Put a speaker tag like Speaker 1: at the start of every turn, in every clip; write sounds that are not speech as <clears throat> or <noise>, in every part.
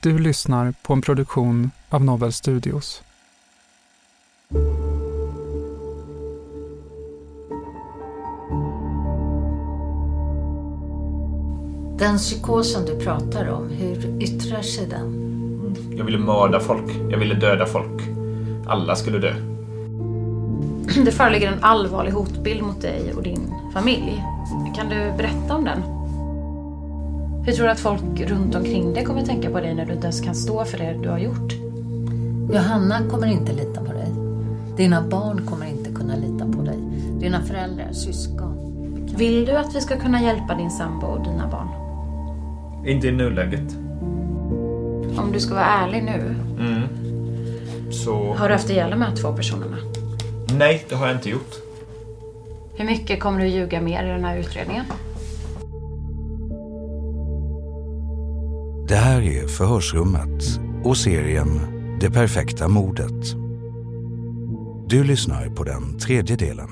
Speaker 1: Du lyssnar på en produktion av Novel Studios.
Speaker 2: Den psykosen du pratar om, hur yttrar sig den?
Speaker 3: Jag ville mörda folk. Jag ville döda folk. Alla skulle dö.
Speaker 4: <clears throat> Det föreligger en allvarlig hotbild mot dig och din familj. Kan du berätta om den? Hur tror du att folk runt omkring dig kommer tänka på dig när du inte ens kan stå för det du har gjort?
Speaker 2: Johanna kommer inte lita på dig. Dina barn kommer inte kunna lita på dig. Dina föräldrar, syskon.
Speaker 4: Vill du att vi ska kunna hjälpa din sambo och dina barn?
Speaker 3: Inte i nuläget.
Speaker 4: Om du ska vara ärlig nu,
Speaker 3: Så...
Speaker 4: har du haft ihjäl de här två personerna?
Speaker 3: Nej, det har jag inte gjort.
Speaker 4: Hur mycket kommer du ljuga mer i den här utredningen?
Speaker 5: Det här är Förhörsrummet och serien Det perfekta mordet. Du lyssnar på den tredje delen.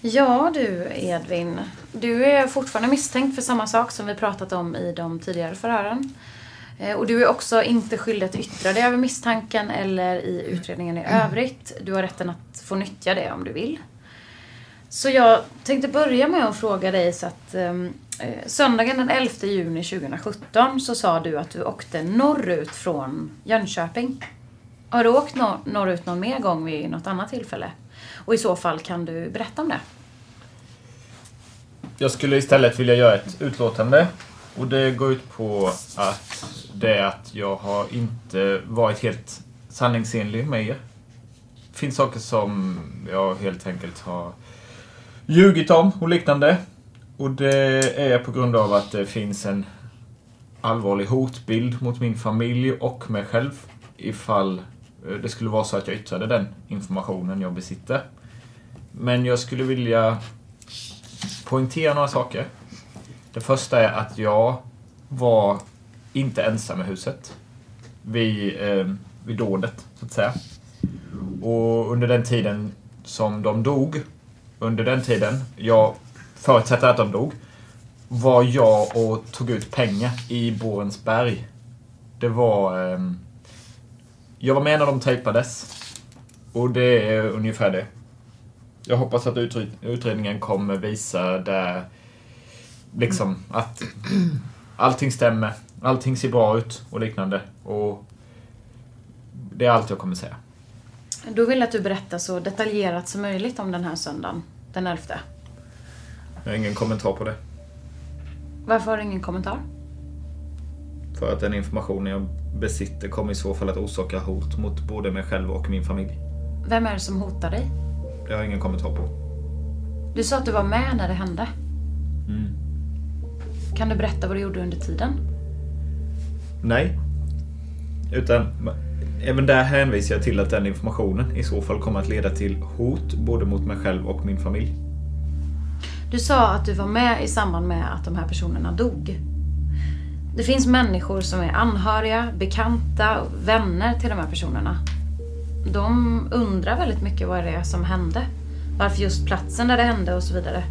Speaker 4: Ja du Edvin, du är fortfarande misstänkt för samma sak som vi pratat om i de tidigare förhören. Eh, Och du är också inte skyldig att yttra dig över misstanken eller i utredningen i övrigt. Du har rätten att få nyttja det om du vill. Så jag tänkte börja med att fråga dig så att ehm, eh, söndagen den 11 juni 2017 så sa du att du åkte norrut från Jönköping. Har du åkt nor- norrut någon mer gång vid något annat tillfälle? Och i så fall kan du berätta om det?
Speaker 3: Jag skulle istället vilja göra ett utlåtande. Och det går ut på att det är att jag har inte varit helt sanningsenlig med er. Det finns saker som jag helt enkelt har ljugit om och liknande. Och det är på grund av att det finns en allvarlig hotbild mot min familj och mig själv ifall eh, det skulle vara så att jag yttrade den informationen jag besitter. Men jag skulle vilja poängtera några saker. Det första är att jag var inte ensam i huset vid, eh, vid dådet, så att säga. Och under den tiden som de dog, under den tiden, jag förutsätter att de dog, var jag och tog ut pengar i Borensberg. Det var... Eh, jag var med när de tejpades. Och det är ungefär det. Jag hoppas att utred- utredningen kommer visa där liksom att allting stämmer, allting ser bra ut och liknande. Och det är allt jag kommer säga.
Speaker 4: Då vill jag att du berättar så detaljerat som möjligt om den här söndagen, den 11.
Speaker 3: Jag har ingen kommentar på det.
Speaker 4: Varför har du ingen kommentar?
Speaker 3: För att den information jag besitter kommer i så fall att orsaka hot mot både mig själv och min familj.
Speaker 4: Vem är det som hotar dig?
Speaker 3: Det har jag ingen kommentar på.
Speaker 4: Du sa att du var med när det hände. Kan du berätta vad du gjorde under tiden?
Speaker 3: Nej. Utan även där hänvisar jag till att den informationen i så fall kommer att leda till hot både mot mig själv och min familj.
Speaker 4: Du sa att du var med i samband med att de här personerna dog. Det finns människor som är anhöriga, bekanta, vänner till de här personerna. De undrar väldigt mycket vad det är som hände. Varför just platsen där det hände och så vidare.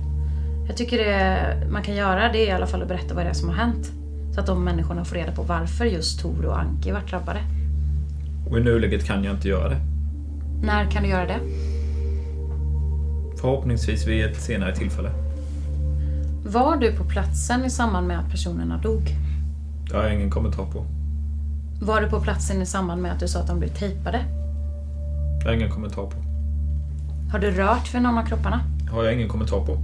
Speaker 4: Jag tycker det man kan göra det är i alla fall att berätta vad det är som har hänt. Så att de människorna får reda på varför just Tor och Anki vart drabbade.
Speaker 3: Och i nuläget kan jag inte göra det.
Speaker 4: När kan du göra det?
Speaker 3: Förhoppningsvis vid ett senare tillfälle.
Speaker 4: Var du på platsen i samband med att personerna dog?
Speaker 3: Det har jag ingen kommentar på.
Speaker 4: Var du på platsen i samband med att du sa att de blev tejpade?
Speaker 3: Det har jag ingen kommentar på.
Speaker 4: Har du rört vid någon av kropparna?
Speaker 3: Det har jag ingen kommentar på.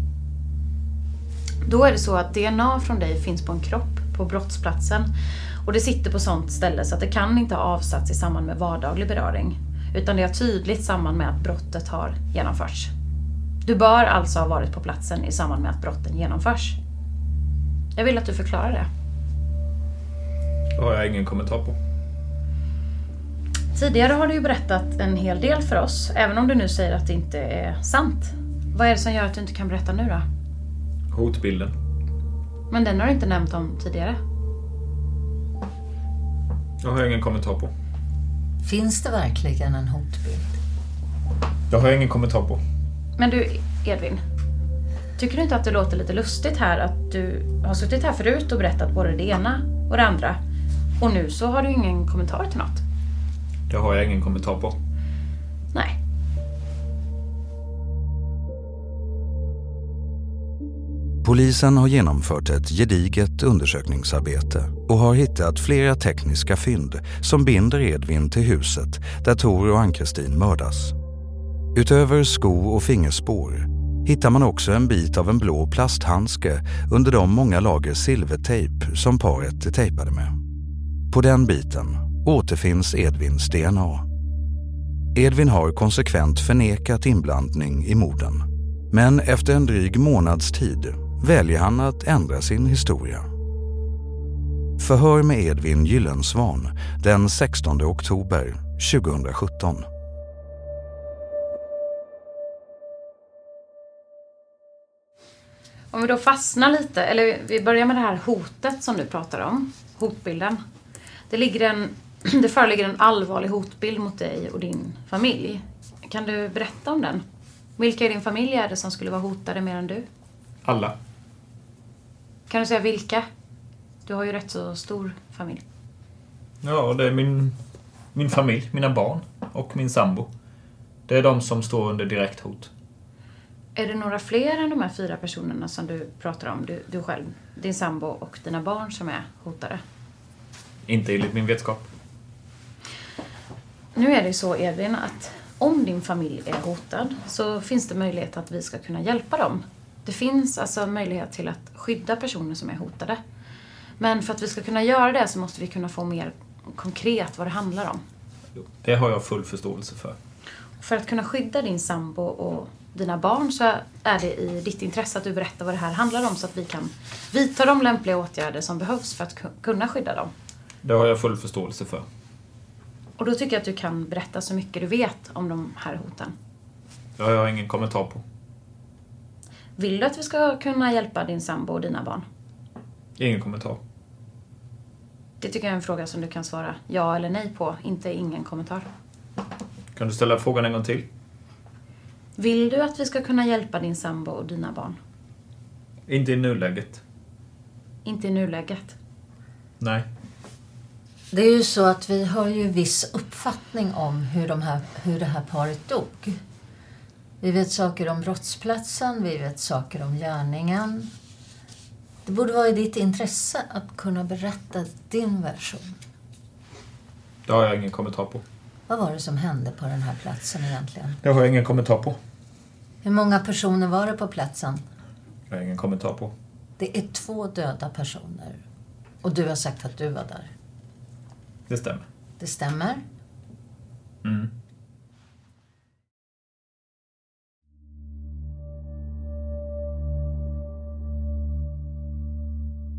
Speaker 4: Då är det så att DNA från dig finns på en kropp på brottsplatsen. Och det sitter på sånt ställe så att det kan inte ha avsatts i samband med vardaglig beröring. Utan det har tydligt samband med att brottet har genomförts. Du bör alltså ha varit på platsen i samband med att brotten genomförs. Jag vill att du förklarar det.
Speaker 3: Det har jag ingen kommentar på.
Speaker 4: Tidigare har du ju berättat en hel del för oss, även om du nu säger att det inte är sant. Vad är det som gör att du inte kan berätta nu då?
Speaker 3: Hotbilden.
Speaker 4: Men den har du inte nämnt om tidigare.
Speaker 3: Det har jag ingen kommentar på.
Speaker 2: Finns det verkligen en hotbild?
Speaker 3: Det har jag ingen kommentar på.
Speaker 4: Men du, Edvin. Tycker du inte att det låter lite lustigt här att du har suttit här förut och berättat både det ena och det andra och nu så har du ingen kommentar till något?
Speaker 3: Det har jag ingen kommentar på.
Speaker 4: Nej.
Speaker 5: Polisen har genomfört ett gediget undersökningsarbete och har hittat flera tekniska fynd som binder Edvin till huset där Tor och Ann-Kristin mördas. Utöver sko och fingerspår hittar man också en bit av en blå plasthandske under de många lager silvertejp som paret är tejpade med. På den biten återfinns Edvins DNA. Edvin har konsekvent förnekat inblandning i morden. Men efter en dryg månads tid väljer han att ändra sin historia. Förhör med Edvin Gyllensvan den 16 oktober 2017.
Speaker 4: Om vi då fastnar lite, eller vi börjar med det här hotet som du pratar om. Hotbilden. Det, ligger en, <clears throat> det föreligger en allvarlig hotbild mot dig och din familj. Kan du berätta om den? Vilka i din familj är det som skulle vara hotade mer än du?
Speaker 3: Alla.
Speaker 4: Kan du säga vilka? Du har ju rätt så stor familj.
Speaker 3: Ja, det är min, min familj, mina barn och min sambo. Det är de som står under direkt hot.
Speaker 4: Är det några fler än de här fyra personerna som du pratar om? Du, du själv, din sambo och dina barn som är hotade?
Speaker 3: Inte enligt min vetskap.
Speaker 4: Nu är det ju så Edvin att om din familj är hotad så finns det möjlighet att vi ska kunna hjälpa dem. Det finns alltså möjlighet till att skydda personer som är hotade. Men för att vi ska kunna göra det så måste vi kunna få mer konkret vad det handlar om.
Speaker 3: Det har jag full förståelse för.
Speaker 4: För att kunna skydda din sambo och dina barn så är det i ditt intresse att du berättar vad det här handlar om så att vi kan vidta de lämpliga åtgärder som behövs för att ku- kunna skydda dem.
Speaker 3: Det har jag full förståelse för.
Speaker 4: Och då tycker jag att du kan berätta så mycket du vet om de här hoten.
Speaker 3: Det har jag ingen kommentar på.
Speaker 4: Vill du att vi ska kunna hjälpa din sambo och dina barn?
Speaker 3: Ingen kommentar.
Speaker 4: Det tycker jag är en fråga som du kan svara ja eller nej på, inte ingen kommentar.
Speaker 3: Kan du ställa frågan en gång till?
Speaker 4: Vill du att vi ska kunna hjälpa din sambo och dina barn?
Speaker 3: Inte i nuläget.
Speaker 4: Inte i nuläget.
Speaker 3: Nej.
Speaker 2: Det är ju så att vi har ju viss uppfattning om hur, de här, hur det här paret dog. Vi vet saker om brottsplatsen, vi vet saker om gärningen. Det borde vara i ditt intresse att kunna berätta din version.
Speaker 3: Det har jag ingen kommentar på.
Speaker 2: Vad var det som hände på den här platsen egentligen?
Speaker 3: Det har jag ingen kommentar på.
Speaker 2: Hur många personer var det på platsen?
Speaker 3: Det har jag ingen kommentar på.
Speaker 2: Det är två döda personer. Och du har sagt att du var där.
Speaker 3: Det stämmer.
Speaker 2: Det stämmer?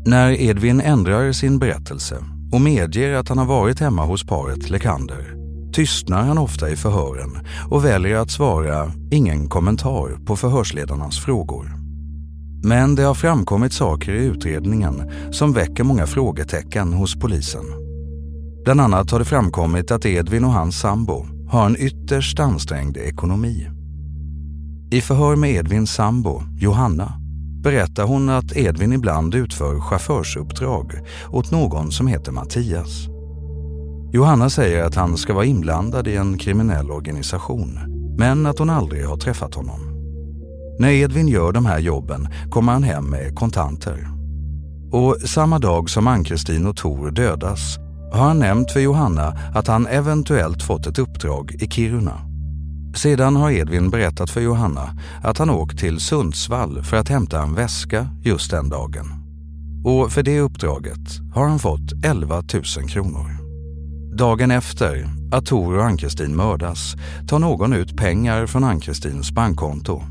Speaker 5: När Edvin ändrar sin berättelse och medger att han har varit hemma hos paret Lekander tystnar han ofta i förhören och väljer att svara ingen kommentar på förhörsledarnas frågor. Men det har framkommit saker i utredningen som väcker många frågetecken hos polisen. Bland annat har det framkommit att Edvin och hans sambo har en ytterst ansträngd ekonomi. I förhör med Edvins sambo, Johanna, berättar hon att Edvin ibland utför chaufförsuppdrag åt någon som heter Mattias. Johanna säger att han ska vara inblandad i en kriminell organisation, men att hon aldrig har träffat honom. När Edvin gör de här jobben kommer han hem med kontanter. Och samma dag som Ann-Kristin och Tor dödas har han nämnt för Johanna att han eventuellt fått ett uppdrag i Kiruna. Sedan har Edvin berättat för Johanna att han åkt till Sundsvall för att hämta en väska just den dagen. och för det uppdraget har han fått 11 000 kronor. Dagen efter att Tor och Ann-Kristin mördas tar någon ut pengar från Ann-Kristins bankkonto.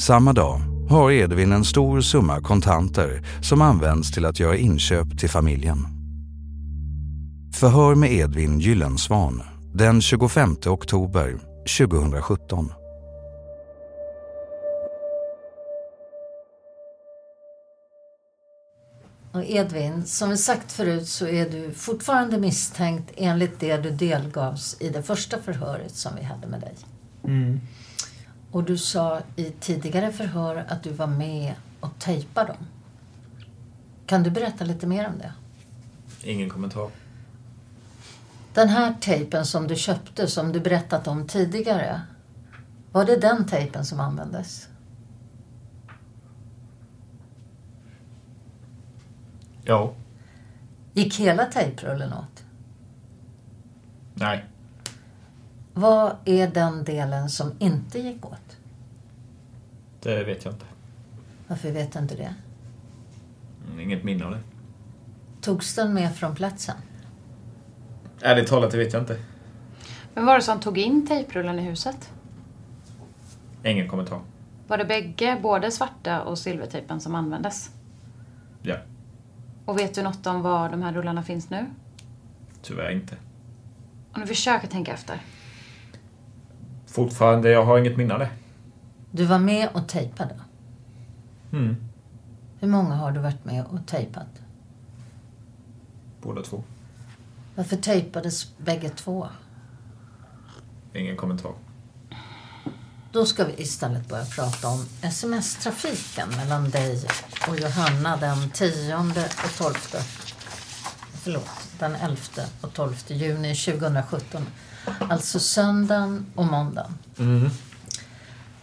Speaker 5: Samma dag har Edvin en stor summa kontanter som används till att göra inköp till familjen. Förhör med Edvin Gyllensvan den 25 oktober 2017.
Speaker 2: Och Edvin, som vi sagt förut så är du fortfarande misstänkt enligt det du delgavs i det första förhöret som vi hade med dig. Och du sa i tidigare förhör att du var med och tejpade dem. Kan du berätta lite mer om det?
Speaker 3: Ingen kommentar.
Speaker 2: Den här tejpen som du köpte, som du berättat om tidigare. Var det den tejpen som användes?
Speaker 3: Ja.
Speaker 2: Gick hela tejprullen åt?
Speaker 3: Nej.
Speaker 2: Vad är den delen som inte gick åt?
Speaker 3: Det vet jag inte.
Speaker 2: Varför vet du inte det?
Speaker 3: Mm, Inget minne av det.
Speaker 2: Togs den med från platsen?
Speaker 3: Ärligt talat, det vet jag inte.
Speaker 4: Vem var det som tog in tejprullen i huset?
Speaker 3: Ingen kommentar.
Speaker 4: Var det bägge, både svarta och silvertejpen som användes?
Speaker 3: Ja.
Speaker 4: Och vet du något om var de här rullarna finns nu?
Speaker 3: Tyvärr inte.
Speaker 4: Om du försöker tänka efter.
Speaker 3: Fortfarande, jag har inget minne av det.
Speaker 2: Du var med och tejpade.
Speaker 3: Mm.
Speaker 2: Hur många har du varit med och tejpat?
Speaker 3: Båda två.
Speaker 2: Varför tejpades bägge två?
Speaker 3: Ingen kommentar.
Speaker 2: Då ska vi istället börja prata om sms-trafiken mellan dig och Johanna den 10 och 12. Förlåt, den 11 och 12 juni 2017. Alltså söndagen och måndagen.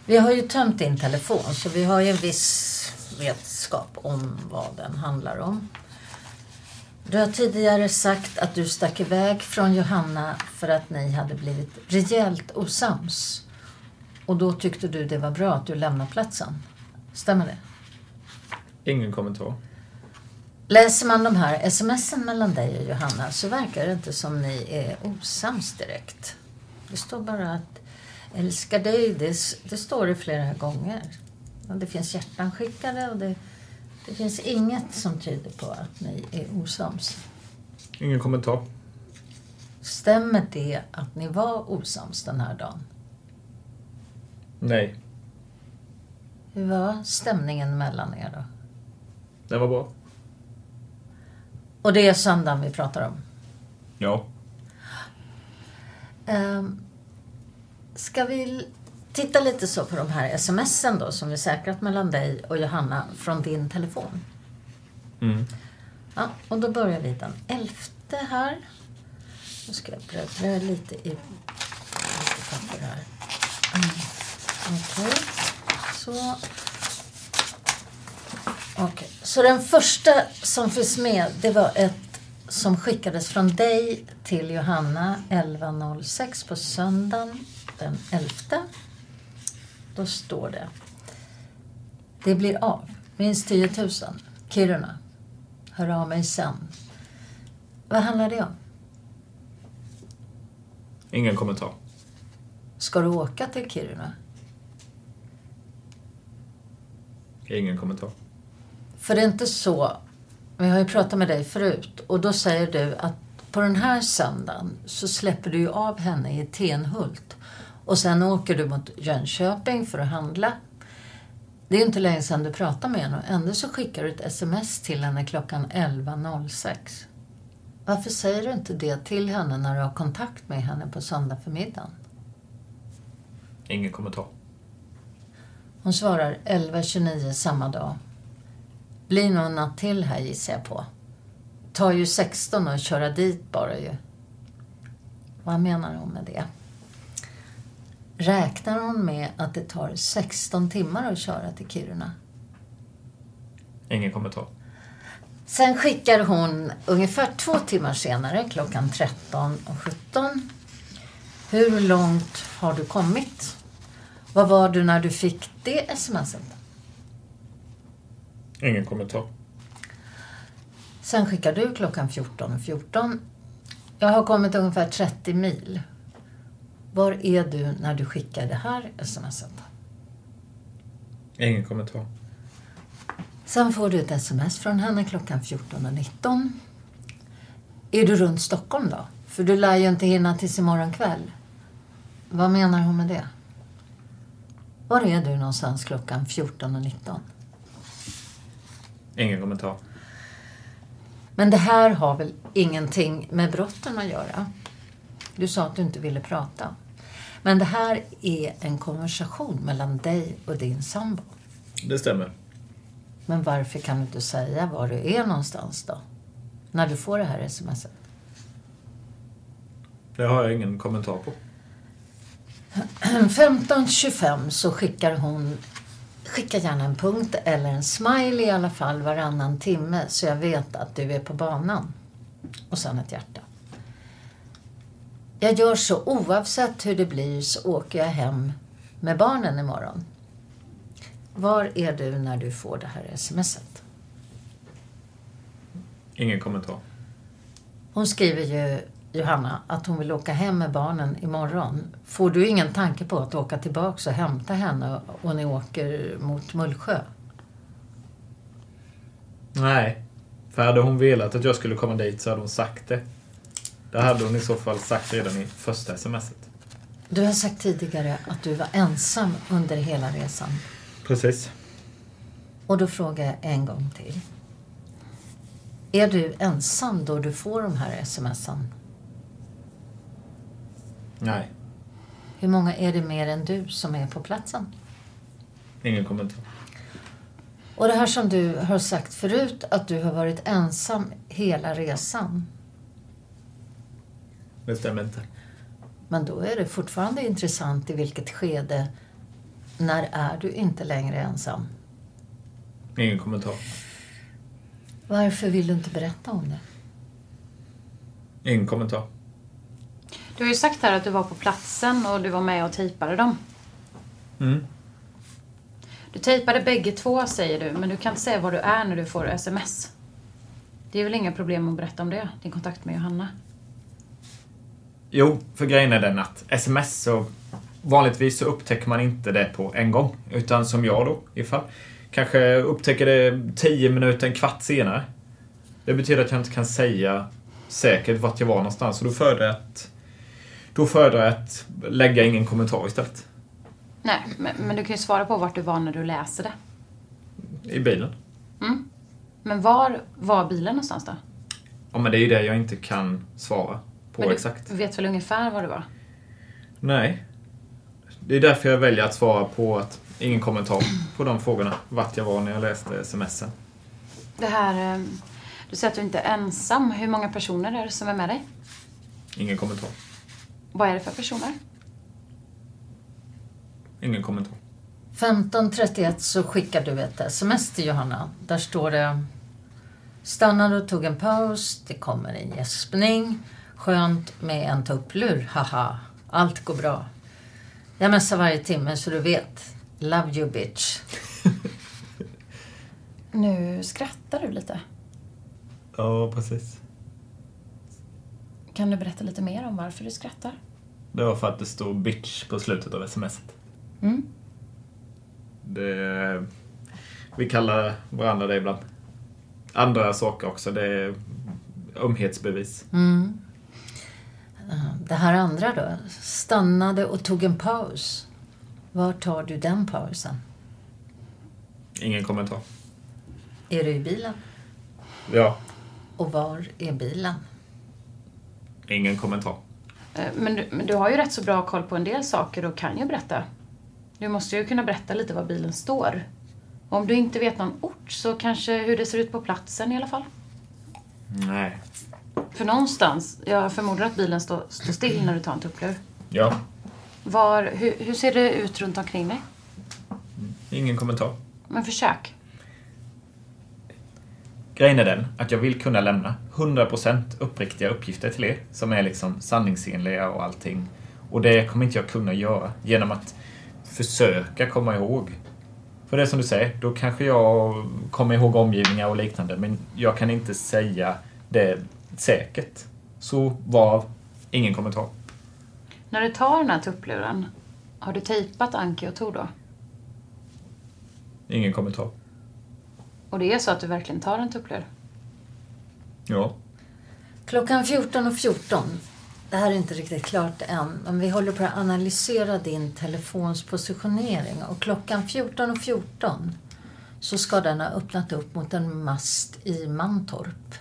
Speaker 2: Vi har ju tömt din telefon så vi har ju en viss vetskap om vad den handlar om. Du har tidigare sagt att du stack iväg från Johanna för att ni hade blivit rejält osams. Och då tyckte du det var bra att du lämnade platsen. Stämmer det?
Speaker 3: Ingen kommentar.
Speaker 2: Läser man de här smsen mellan dig och Johanna så verkar det inte som ni är osams direkt. Det står bara att älskar dig, det, s- det står det flera gånger. Och det finns hjärtan skickade och det, det finns inget som tyder på att ni är osams.
Speaker 3: Ingen kommentar.
Speaker 2: Stämmer det att ni var osams den här dagen?
Speaker 3: Nej.
Speaker 2: Hur var stämningen mellan er då?
Speaker 3: Det var bra.
Speaker 2: Och det är söndagen vi pratar om.
Speaker 3: Ja.
Speaker 2: Um, ska vi l- titta lite så på de här smsen då som vi säkrat mellan dig och Johanna från din telefon?
Speaker 3: Mm.
Speaker 2: Ja, och då börjar vi den 11 här. Nu ska jag bläddra lite i lite papper här. Mm. Okej, så. Okej, så den första som finns med det var ett som skickades från dig till Johanna 11.06 på söndagen den 11. Då står det. Det blir av. Minst 10 000. Kiruna. Hör av mig sen. Vad handlar det om?
Speaker 3: Ingen kommentar.
Speaker 2: Ska du åka till Kiruna?
Speaker 3: Ingen kommentar.
Speaker 2: För det är inte så, vi har ju pratat med dig förut och då säger du att på den här söndagen så släpper du ju av henne i Tenhult och sen åker du mot Jönköping för att handla. Det är ju inte länge sedan du pratade med henne och ändå så skickar du ett sms till henne klockan 11.06. Varför säger du inte det till henne när du har kontakt med henne på söndag förmiddagen?
Speaker 3: Ingen kommentar.
Speaker 2: Hon svarar 11.29 samma dag. Blir nog en natt till här gissar jag på. Tar ju 16 och köra dit bara ju. Vad menar hon med det? Räknar hon med att det tar 16 timmar att köra till Kiruna?
Speaker 3: Ingen kommentar.
Speaker 2: Sen skickar hon ungefär två timmar senare, klockan 13.17. Hur långt har du kommit? Vad var du när du fick det smset?
Speaker 3: Ingen kommentar.
Speaker 2: Sen skickar du klockan 14.14. Jag har kommit ungefär 30 mil. Var är du när du skickar det här smset?
Speaker 3: Ingen kommentar.
Speaker 2: Sen får du ett sms från henne klockan 14.19. Är du runt Stockholm då? För du lär ju inte hinna tills imorgon kväll. Vad menar hon med det? Var är du någonstans klockan 14.19?
Speaker 3: Ingen kommentar.
Speaker 2: Men det här har väl ingenting med brotten att göra? Du sa att du inte ville prata. Men det här är en konversation mellan dig och din sambo.
Speaker 3: Det stämmer.
Speaker 2: Men varför kan du inte säga var du är någonstans då? När du får det här smset.
Speaker 3: Det har jag ingen kommentar på.
Speaker 2: 15.25 så skickar hon Skicka gärna en punkt eller en smiley i alla fall varannan timme så jag vet att du är på banan. Och sen ett hjärta. Jag gör så oavsett hur det blir så åker jag hem med barnen imorgon. Var är du när du får det här smset?
Speaker 3: Ingen kommentar.
Speaker 2: Hon skriver ju, Johanna, att hon vill åka hem med barnen imorgon. Får du ingen tanke på att åka tillbaka och hämta henne och ni åker mot Mullsjö?
Speaker 3: Nej. För hade hon velat att jag skulle komma dit så hade hon sagt det. Det hade hon i så fall sagt redan i första smset.
Speaker 2: Du har sagt tidigare att du var ensam under hela resan.
Speaker 3: Precis.
Speaker 2: Och då frågar jag en gång till. Är du ensam då du får de här smsen?
Speaker 3: Nej.
Speaker 2: Hur många är det mer än du som är på platsen?
Speaker 3: Ingen kommentar.
Speaker 2: Och det här som du har sagt förut, att du har varit ensam hela resan.
Speaker 3: Det stämmer inte.
Speaker 2: Men då är det fortfarande intressant i vilket skede, när är du inte längre ensam?
Speaker 3: Ingen kommentar.
Speaker 2: Varför vill du inte berätta om det?
Speaker 3: Ingen kommentar.
Speaker 4: Du har ju sagt här att du var på platsen och du var med och tejpade dem.
Speaker 3: Mm.
Speaker 4: Du tejpade bägge två säger du, men du kan inte säga var du är när du får sms. Det är väl inga problem att berätta om det, din kontakt med Johanna.
Speaker 3: Jo, för grejen är den att sms så vanligtvis så upptäcker man inte det på en gång. Utan som jag då, ifall. Kanske upptäcker det 10 minuter, en kvart senare. Det betyder att jag inte kan säga säkert vart jag var någonstans. Så då föredrar jag att, då föredrar jag att lägga ingen kommentar istället.
Speaker 4: Nej, men, men du kan ju svara på vart du var när du läser det.
Speaker 3: I bilen.
Speaker 4: Men var var bilen någonstans då?
Speaker 3: Ja, men det är ju det jag inte kan svara på
Speaker 4: men du
Speaker 3: exakt.
Speaker 4: vet väl ungefär var du var?
Speaker 3: Nej. Det är därför jag väljer att svara på att ingen kommentar på de frågorna. Vart jag var när jag läste smsen.
Speaker 4: Det här... eh, Du säger att du inte är ensam. Hur många personer är det som är med dig?
Speaker 3: Ingen kommentar.
Speaker 4: Vad är det för personer?
Speaker 3: Ingen kommentar.
Speaker 2: 15.31 så skickar du ett sms till Johanna. Där står det Stannade och tog en paus. Det kommer en gäspning. Skönt med en tupplur. Haha. Allt går bra. Jag messar varje timme så du vet. Love you bitch.
Speaker 4: Nu skrattar du lite.
Speaker 3: Ja, precis.
Speaker 4: Kan du berätta lite mer om varför du skrattar?
Speaker 3: Det var för att det stod bitch på slutet av smset.
Speaker 4: Mm.
Speaker 3: Det, vi kallar varandra det ibland. Andra saker också. Det är ömhetsbevis.
Speaker 2: Det här andra då. Stannade och tog en paus. Var tar du den pausen?
Speaker 3: Ingen kommentar.
Speaker 2: Är du i bilen?
Speaker 3: Ja,
Speaker 2: Och var är bilen?
Speaker 3: ingen kommentar.
Speaker 4: Eh, Men du, men du har ju rätt så bra koll på en del saker och kan ju berätta. Du måste ju kunna berätta lite var bilen står. Och om du inte vet någon ort så kanske hur det ser ut på platsen i alla fall.
Speaker 3: Nej.
Speaker 4: För någonstans, jag förmodar att bilen står står still när du tar en tupplur.
Speaker 3: Ja,
Speaker 4: Var, hur, hur ser det ut runt omkring dig?
Speaker 3: ingen kommentar.
Speaker 4: Men försök.
Speaker 3: Grejen är den att jag vill kunna lämna 100% uppriktiga uppgifter till er som är liksom sanningsenliga och allting. Och det kommer inte jag kunna göra genom att försöka komma ihåg. För det är som du säger, då kanske jag kommer ihåg omgivningar och liknande men jag kan inte säga det säkert. Så var ingen kommentar.
Speaker 4: När du tar den här tuppluren, har du tejpat Anki och Tor då?
Speaker 3: Ingen kommentar.
Speaker 4: Och det är så att du verkligen tar en tupplur?
Speaker 3: Ja.
Speaker 2: Klockan 14.14. Det här är inte riktigt klart än, men vi håller på att analysera din telefons positionering. Och klockan 14.14 så ska den ha öppnat upp mot en mast i Mantorp.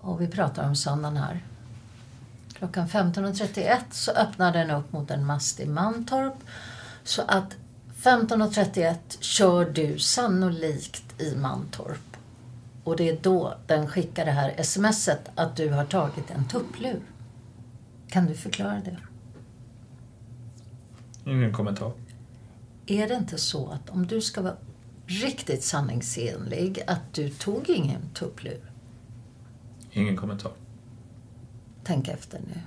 Speaker 2: Och vi pratar om sådana här. Klockan 15.31 så öppnar den upp mot en mast i Mantorp. Så att 15.31 kör du sannolikt i Mantorp. Och det är då den skickar det här smset att du har tagit en tupplur. Kan du förklara det?
Speaker 3: Ingen kommentar.
Speaker 2: Är det inte så att om du ska vara riktigt sanningsenlig att du tog ingen tupplur?
Speaker 3: Ingen kommentar.
Speaker 2: Tänk efter nu.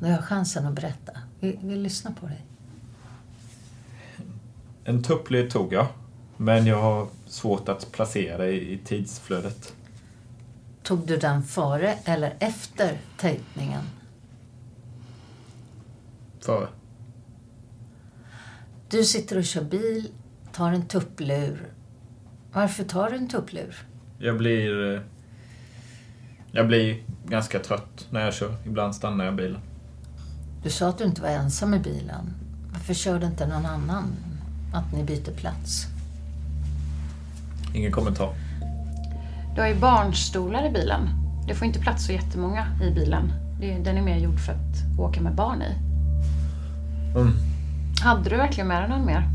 Speaker 2: Nu har jag chansen att berätta. Vi, vi lyssnar på dig.
Speaker 3: En tupplur tog jag, men jag har svårt att placera det i tidsflödet.
Speaker 2: Tog du den före eller efter tejpningen?
Speaker 3: Före.
Speaker 2: Du sitter och kör bil, tar en tupplur. Varför tar du en tupplur?
Speaker 3: Jag blir... eh, Jag blir ganska trött när jag kör. Ibland stannar jag bilen.
Speaker 2: Du sa att du inte var ensam i bilen. Varför körde inte någon annan? Att ni byter plats?
Speaker 3: Ingen kommentar.
Speaker 4: Du har ju barnstolar i bilen. Det får inte plats så jättemånga i bilen. Det är, den är mer gjord för att åka med barn i.
Speaker 3: Mm.
Speaker 4: Hade du verkligen med dig någon mer?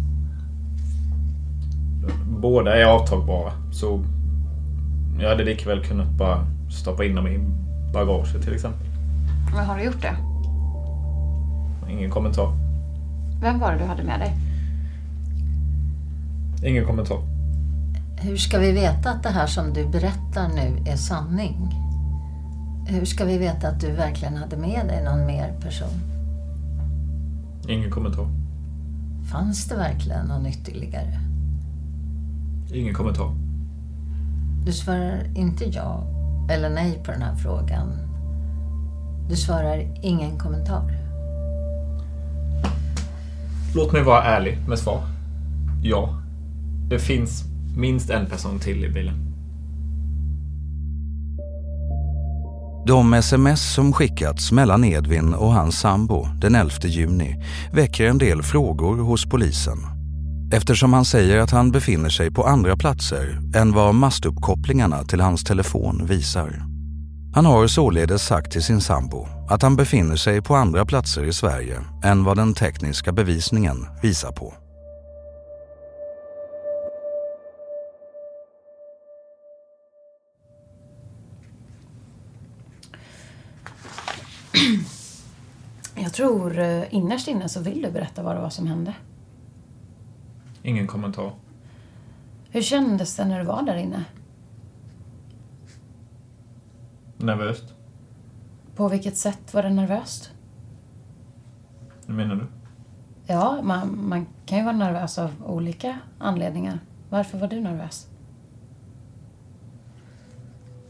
Speaker 3: Båda är avtagbara, så jag hade likväl kunnat bara stoppa in dem i bagaget till exempel.
Speaker 4: Men har du gjort det?
Speaker 3: Ingen kommentar.
Speaker 4: Vem var det du hade med dig?
Speaker 3: Ingen kommentar.
Speaker 2: Hur ska vi veta att det här som du berättar nu är sanning? Hur ska vi veta att du verkligen hade med dig någon mer person?
Speaker 3: Ingen kommentar.
Speaker 2: Fanns det verkligen någon ytterligare?
Speaker 3: Ingen kommentar.
Speaker 2: Du svarar inte ja eller nej på den här frågan. Du svarar ingen kommentar.
Speaker 3: Låt mig vara ärlig med svar. Ja. Det finns minst en person till i bilen.
Speaker 5: De sms som skickats mellan Edvin och hans sambo den 11 juni väcker en del frågor hos polisen. Eftersom han säger att han befinner sig på andra platser än vad mastuppkopplingarna till hans telefon visar. Han har således sagt till sin sambo att han befinner sig på andra platser i Sverige än vad den tekniska bevisningen visar på.
Speaker 4: Jag tror eh, innerst inne så vill du berätta vad det var som hände.
Speaker 3: Ingen kommentar.
Speaker 4: Hur kändes det när du var där inne?
Speaker 3: Nervöst?
Speaker 4: På vilket sätt var det nervöst?
Speaker 3: Hur menar du?
Speaker 4: Ja, man, man kan ju vara nervös av olika anledningar. Varför var du nervös?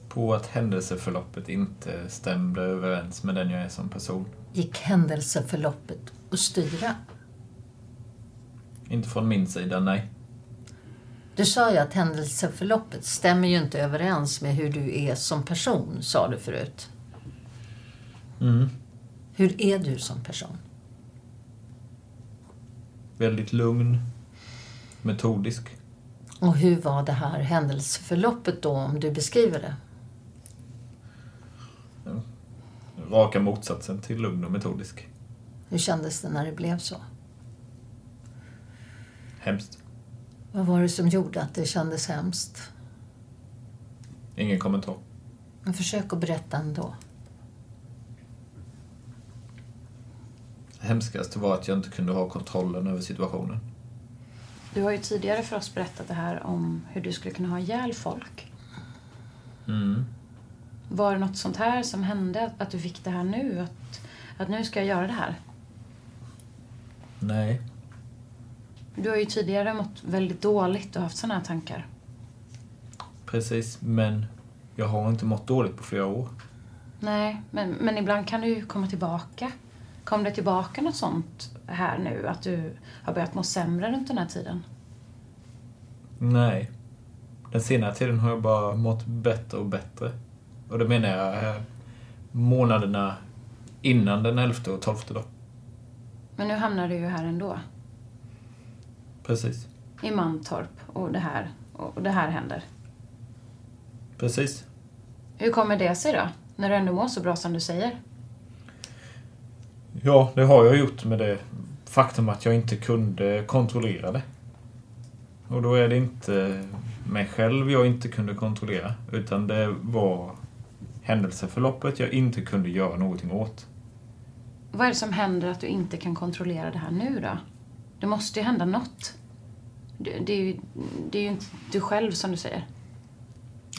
Speaker 3: På att händelseförloppet inte stämde överens med den jag är som person.
Speaker 2: Gick händelseförloppet att styra?
Speaker 3: Inte från min sida, nej.
Speaker 2: Du sa ju att händelseförloppet stämmer ju inte överens med hur du är som person, sa du förut.
Speaker 3: Mm.
Speaker 2: Hur är du som person?
Speaker 3: Väldigt lugn. Metodisk.
Speaker 2: Och hur var det här händelseförloppet då, om du beskriver det?
Speaker 3: Raka motsatsen till lugn och metodisk.
Speaker 2: Hur kändes det när det blev så?
Speaker 3: Hemskt.
Speaker 2: Vad var det som gjorde att det kändes hemskt?
Speaker 3: Ingen kommentar.
Speaker 2: Men försök att berätta ändå.
Speaker 3: Hemskast var att jag inte kunde ha kontrollen över situationen.
Speaker 4: Du har ju tidigare för oss berättat det här om hur du skulle kunna ha ihjäl folk.
Speaker 3: Mm.
Speaker 4: Var det något sånt här som hände? Att, att du fick det här nu? Att, att nu ska jag göra det här?
Speaker 3: Nej.
Speaker 4: Du har ju tidigare mått väldigt dåligt och haft sådana här tankar.
Speaker 3: Precis, men jag har inte mått dåligt på flera år.
Speaker 4: Nej, men, men ibland kan det ju komma tillbaka. Kom det tillbaka något sånt här nu? Att du har börjat må sämre runt den här tiden?
Speaker 3: Nej. Den senare tiden har jag bara mått bättre och bättre. Och det menar jag eh, månaderna innan den 11 och 12 då.
Speaker 4: Men nu hamnar du ju här ändå.
Speaker 3: Precis.
Speaker 4: I Mantorp och det här, och det här händer.
Speaker 3: Precis.
Speaker 4: Hur kommer det sig då? När du ändå mår så bra som du säger?
Speaker 3: Ja, det har jag gjort med det faktum att jag inte kunde kontrollera det. Och då är det inte mig själv jag inte kunde kontrollera, utan det var händelseförloppet jag inte kunde göra någonting åt.
Speaker 4: Vad är det som händer att du inte kan kontrollera det här nu då? Det måste ju hända något. Det, det, är, ju, det är ju inte du själv som du säger.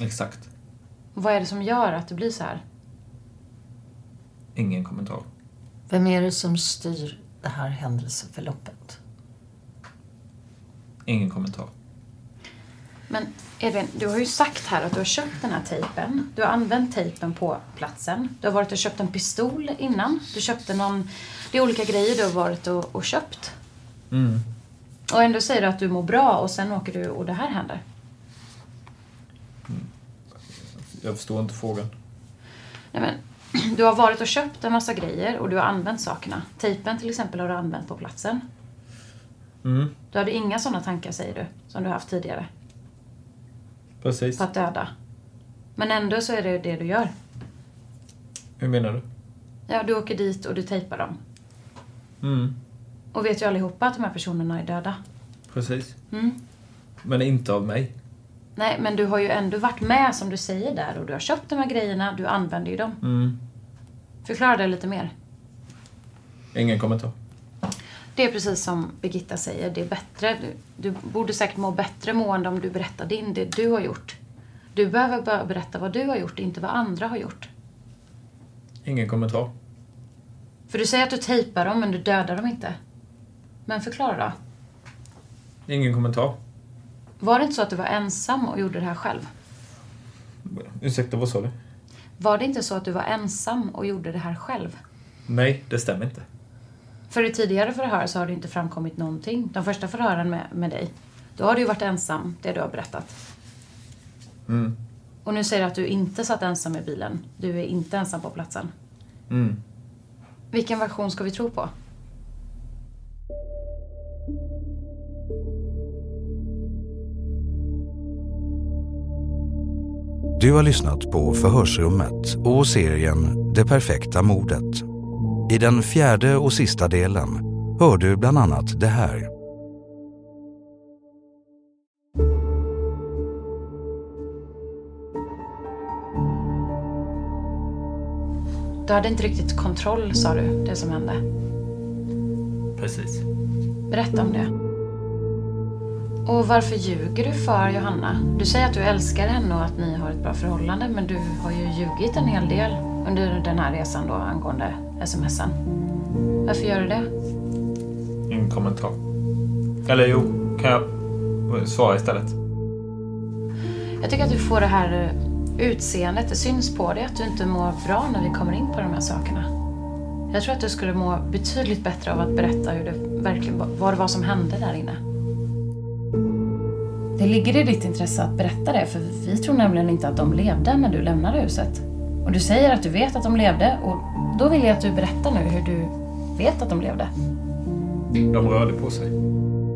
Speaker 3: Exakt.
Speaker 4: Vad är det som gör att det blir så här?
Speaker 3: Ingen kommentar.
Speaker 2: Vem är det som styr det här händelseförloppet?
Speaker 3: Ingen kommentar.
Speaker 4: Men Edvin, du har ju sagt här att du har köpt den här tejpen. Du har använt tejpen på platsen. Du har varit och köpt en pistol innan. Du köpte någon... Det är olika grejer du har varit och, och köpt.
Speaker 3: Mm.
Speaker 4: Och ändå säger du att du mår bra och sen åker du och det här händer.
Speaker 3: Jag förstår inte frågan.
Speaker 4: Nej, men, <clears throat> du har varit och köpt en massa grejer och du har använt sakerna. Tejpen till exempel har du använt på platsen.
Speaker 3: Mm,
Speaker 4: Du hade inga sådana tankar säger du, som du har haft tidigare,
Speaker 3: precis.
Speaker 4: på att döda. Men ändå så är det det du gör.
Speaker 3: Hur menar du?
Speaker 4: Ja, du åker dit och du tejpar dem.
Speaker 3: Mm,
Speaker 4: Och vet ju allihopa att de här personerna är döda.
Speaker 3: precis.
Speaker 4: Mm.
Speaker 3: Men inte av mig.
Speaker 4: Nej, men du har ju ändå varit med som du säger där och du har köpt de här grejerna, du använder ju dem.
Speaker 3: Mm,
Speaker 4: Förklara det lite mer.
Speaker 3: ingen kommentar.
Speaker 4: Det är precis som Birgitta säger, det är bättre. Du, du borde säkert må bättre mående om du berättar din, det du har gjort. Du behöver bara berätta vad du har gjort, inte vad andra har gjort.
Speaker 3: Ingen kommentar.
Speaker 4: För du säger att du tejpar dem, men du dödar dem inte. Men förklara då.
Speaker 3: Ingen kommentar.
Speaker 4: Var det inte så att du var ensam och gjorde det här själv?
Speaker 3: Ursäkta, vad sa du?
Speaker 4: Var det inte så att du var ensam och gjorde det här själv?
Speaker 3: Nej, det stämmer inte.
Speaker 4: För i tidigare förhör så har det inte framkommit någonting. De första förhören med, med dig, då har du ju varit ensam, det du har berättat.
Speaker 3: Mm.
Speaker 4: Och nu säger du att du inte satt ensam i bilen. Du är inte ensam på platsen.
Speaker 3: Mm.
Speaker 4: Vilken version ska vi tro på?
Speaker 5: Du har lyssnat på Förhörsrummet och serien Det perfekta mordet. I den fjärde och sista delen hör du bland annat det här.
Speaker 4: Du hade inte riktigt kontroll, sa du, det som hände.
Speaker 3: Precis.
Speaker 4: Berätta om det. Och varför ljuger du för Johanna? Du säger att du älskar henne och att ni har ett bra förhållande, men du har ju ljugit en hel del under den här resan då angående smsen. Varför gör du det?
Speaker 3: Ingen kommentar. Eller jo, kan jag svara istället?
Speaker 4: Jag tycker att du får det här eh, utseendet, det syns på dig att du inte mår bra när vi kommer in på de här sakerna. Jag tror att du skulle må betydligt bättre av att berätta hur det verkligen, var- vad det var som hände där inne. Det ligger i ditt intresse att berätta det, för vi tror nämligen inte att de levde när du lämnade huset. Och du säger att du vet att de levde och då vill jag att du berättar nu hur du vet att de levde.
Speaker 3: De rörde på sig.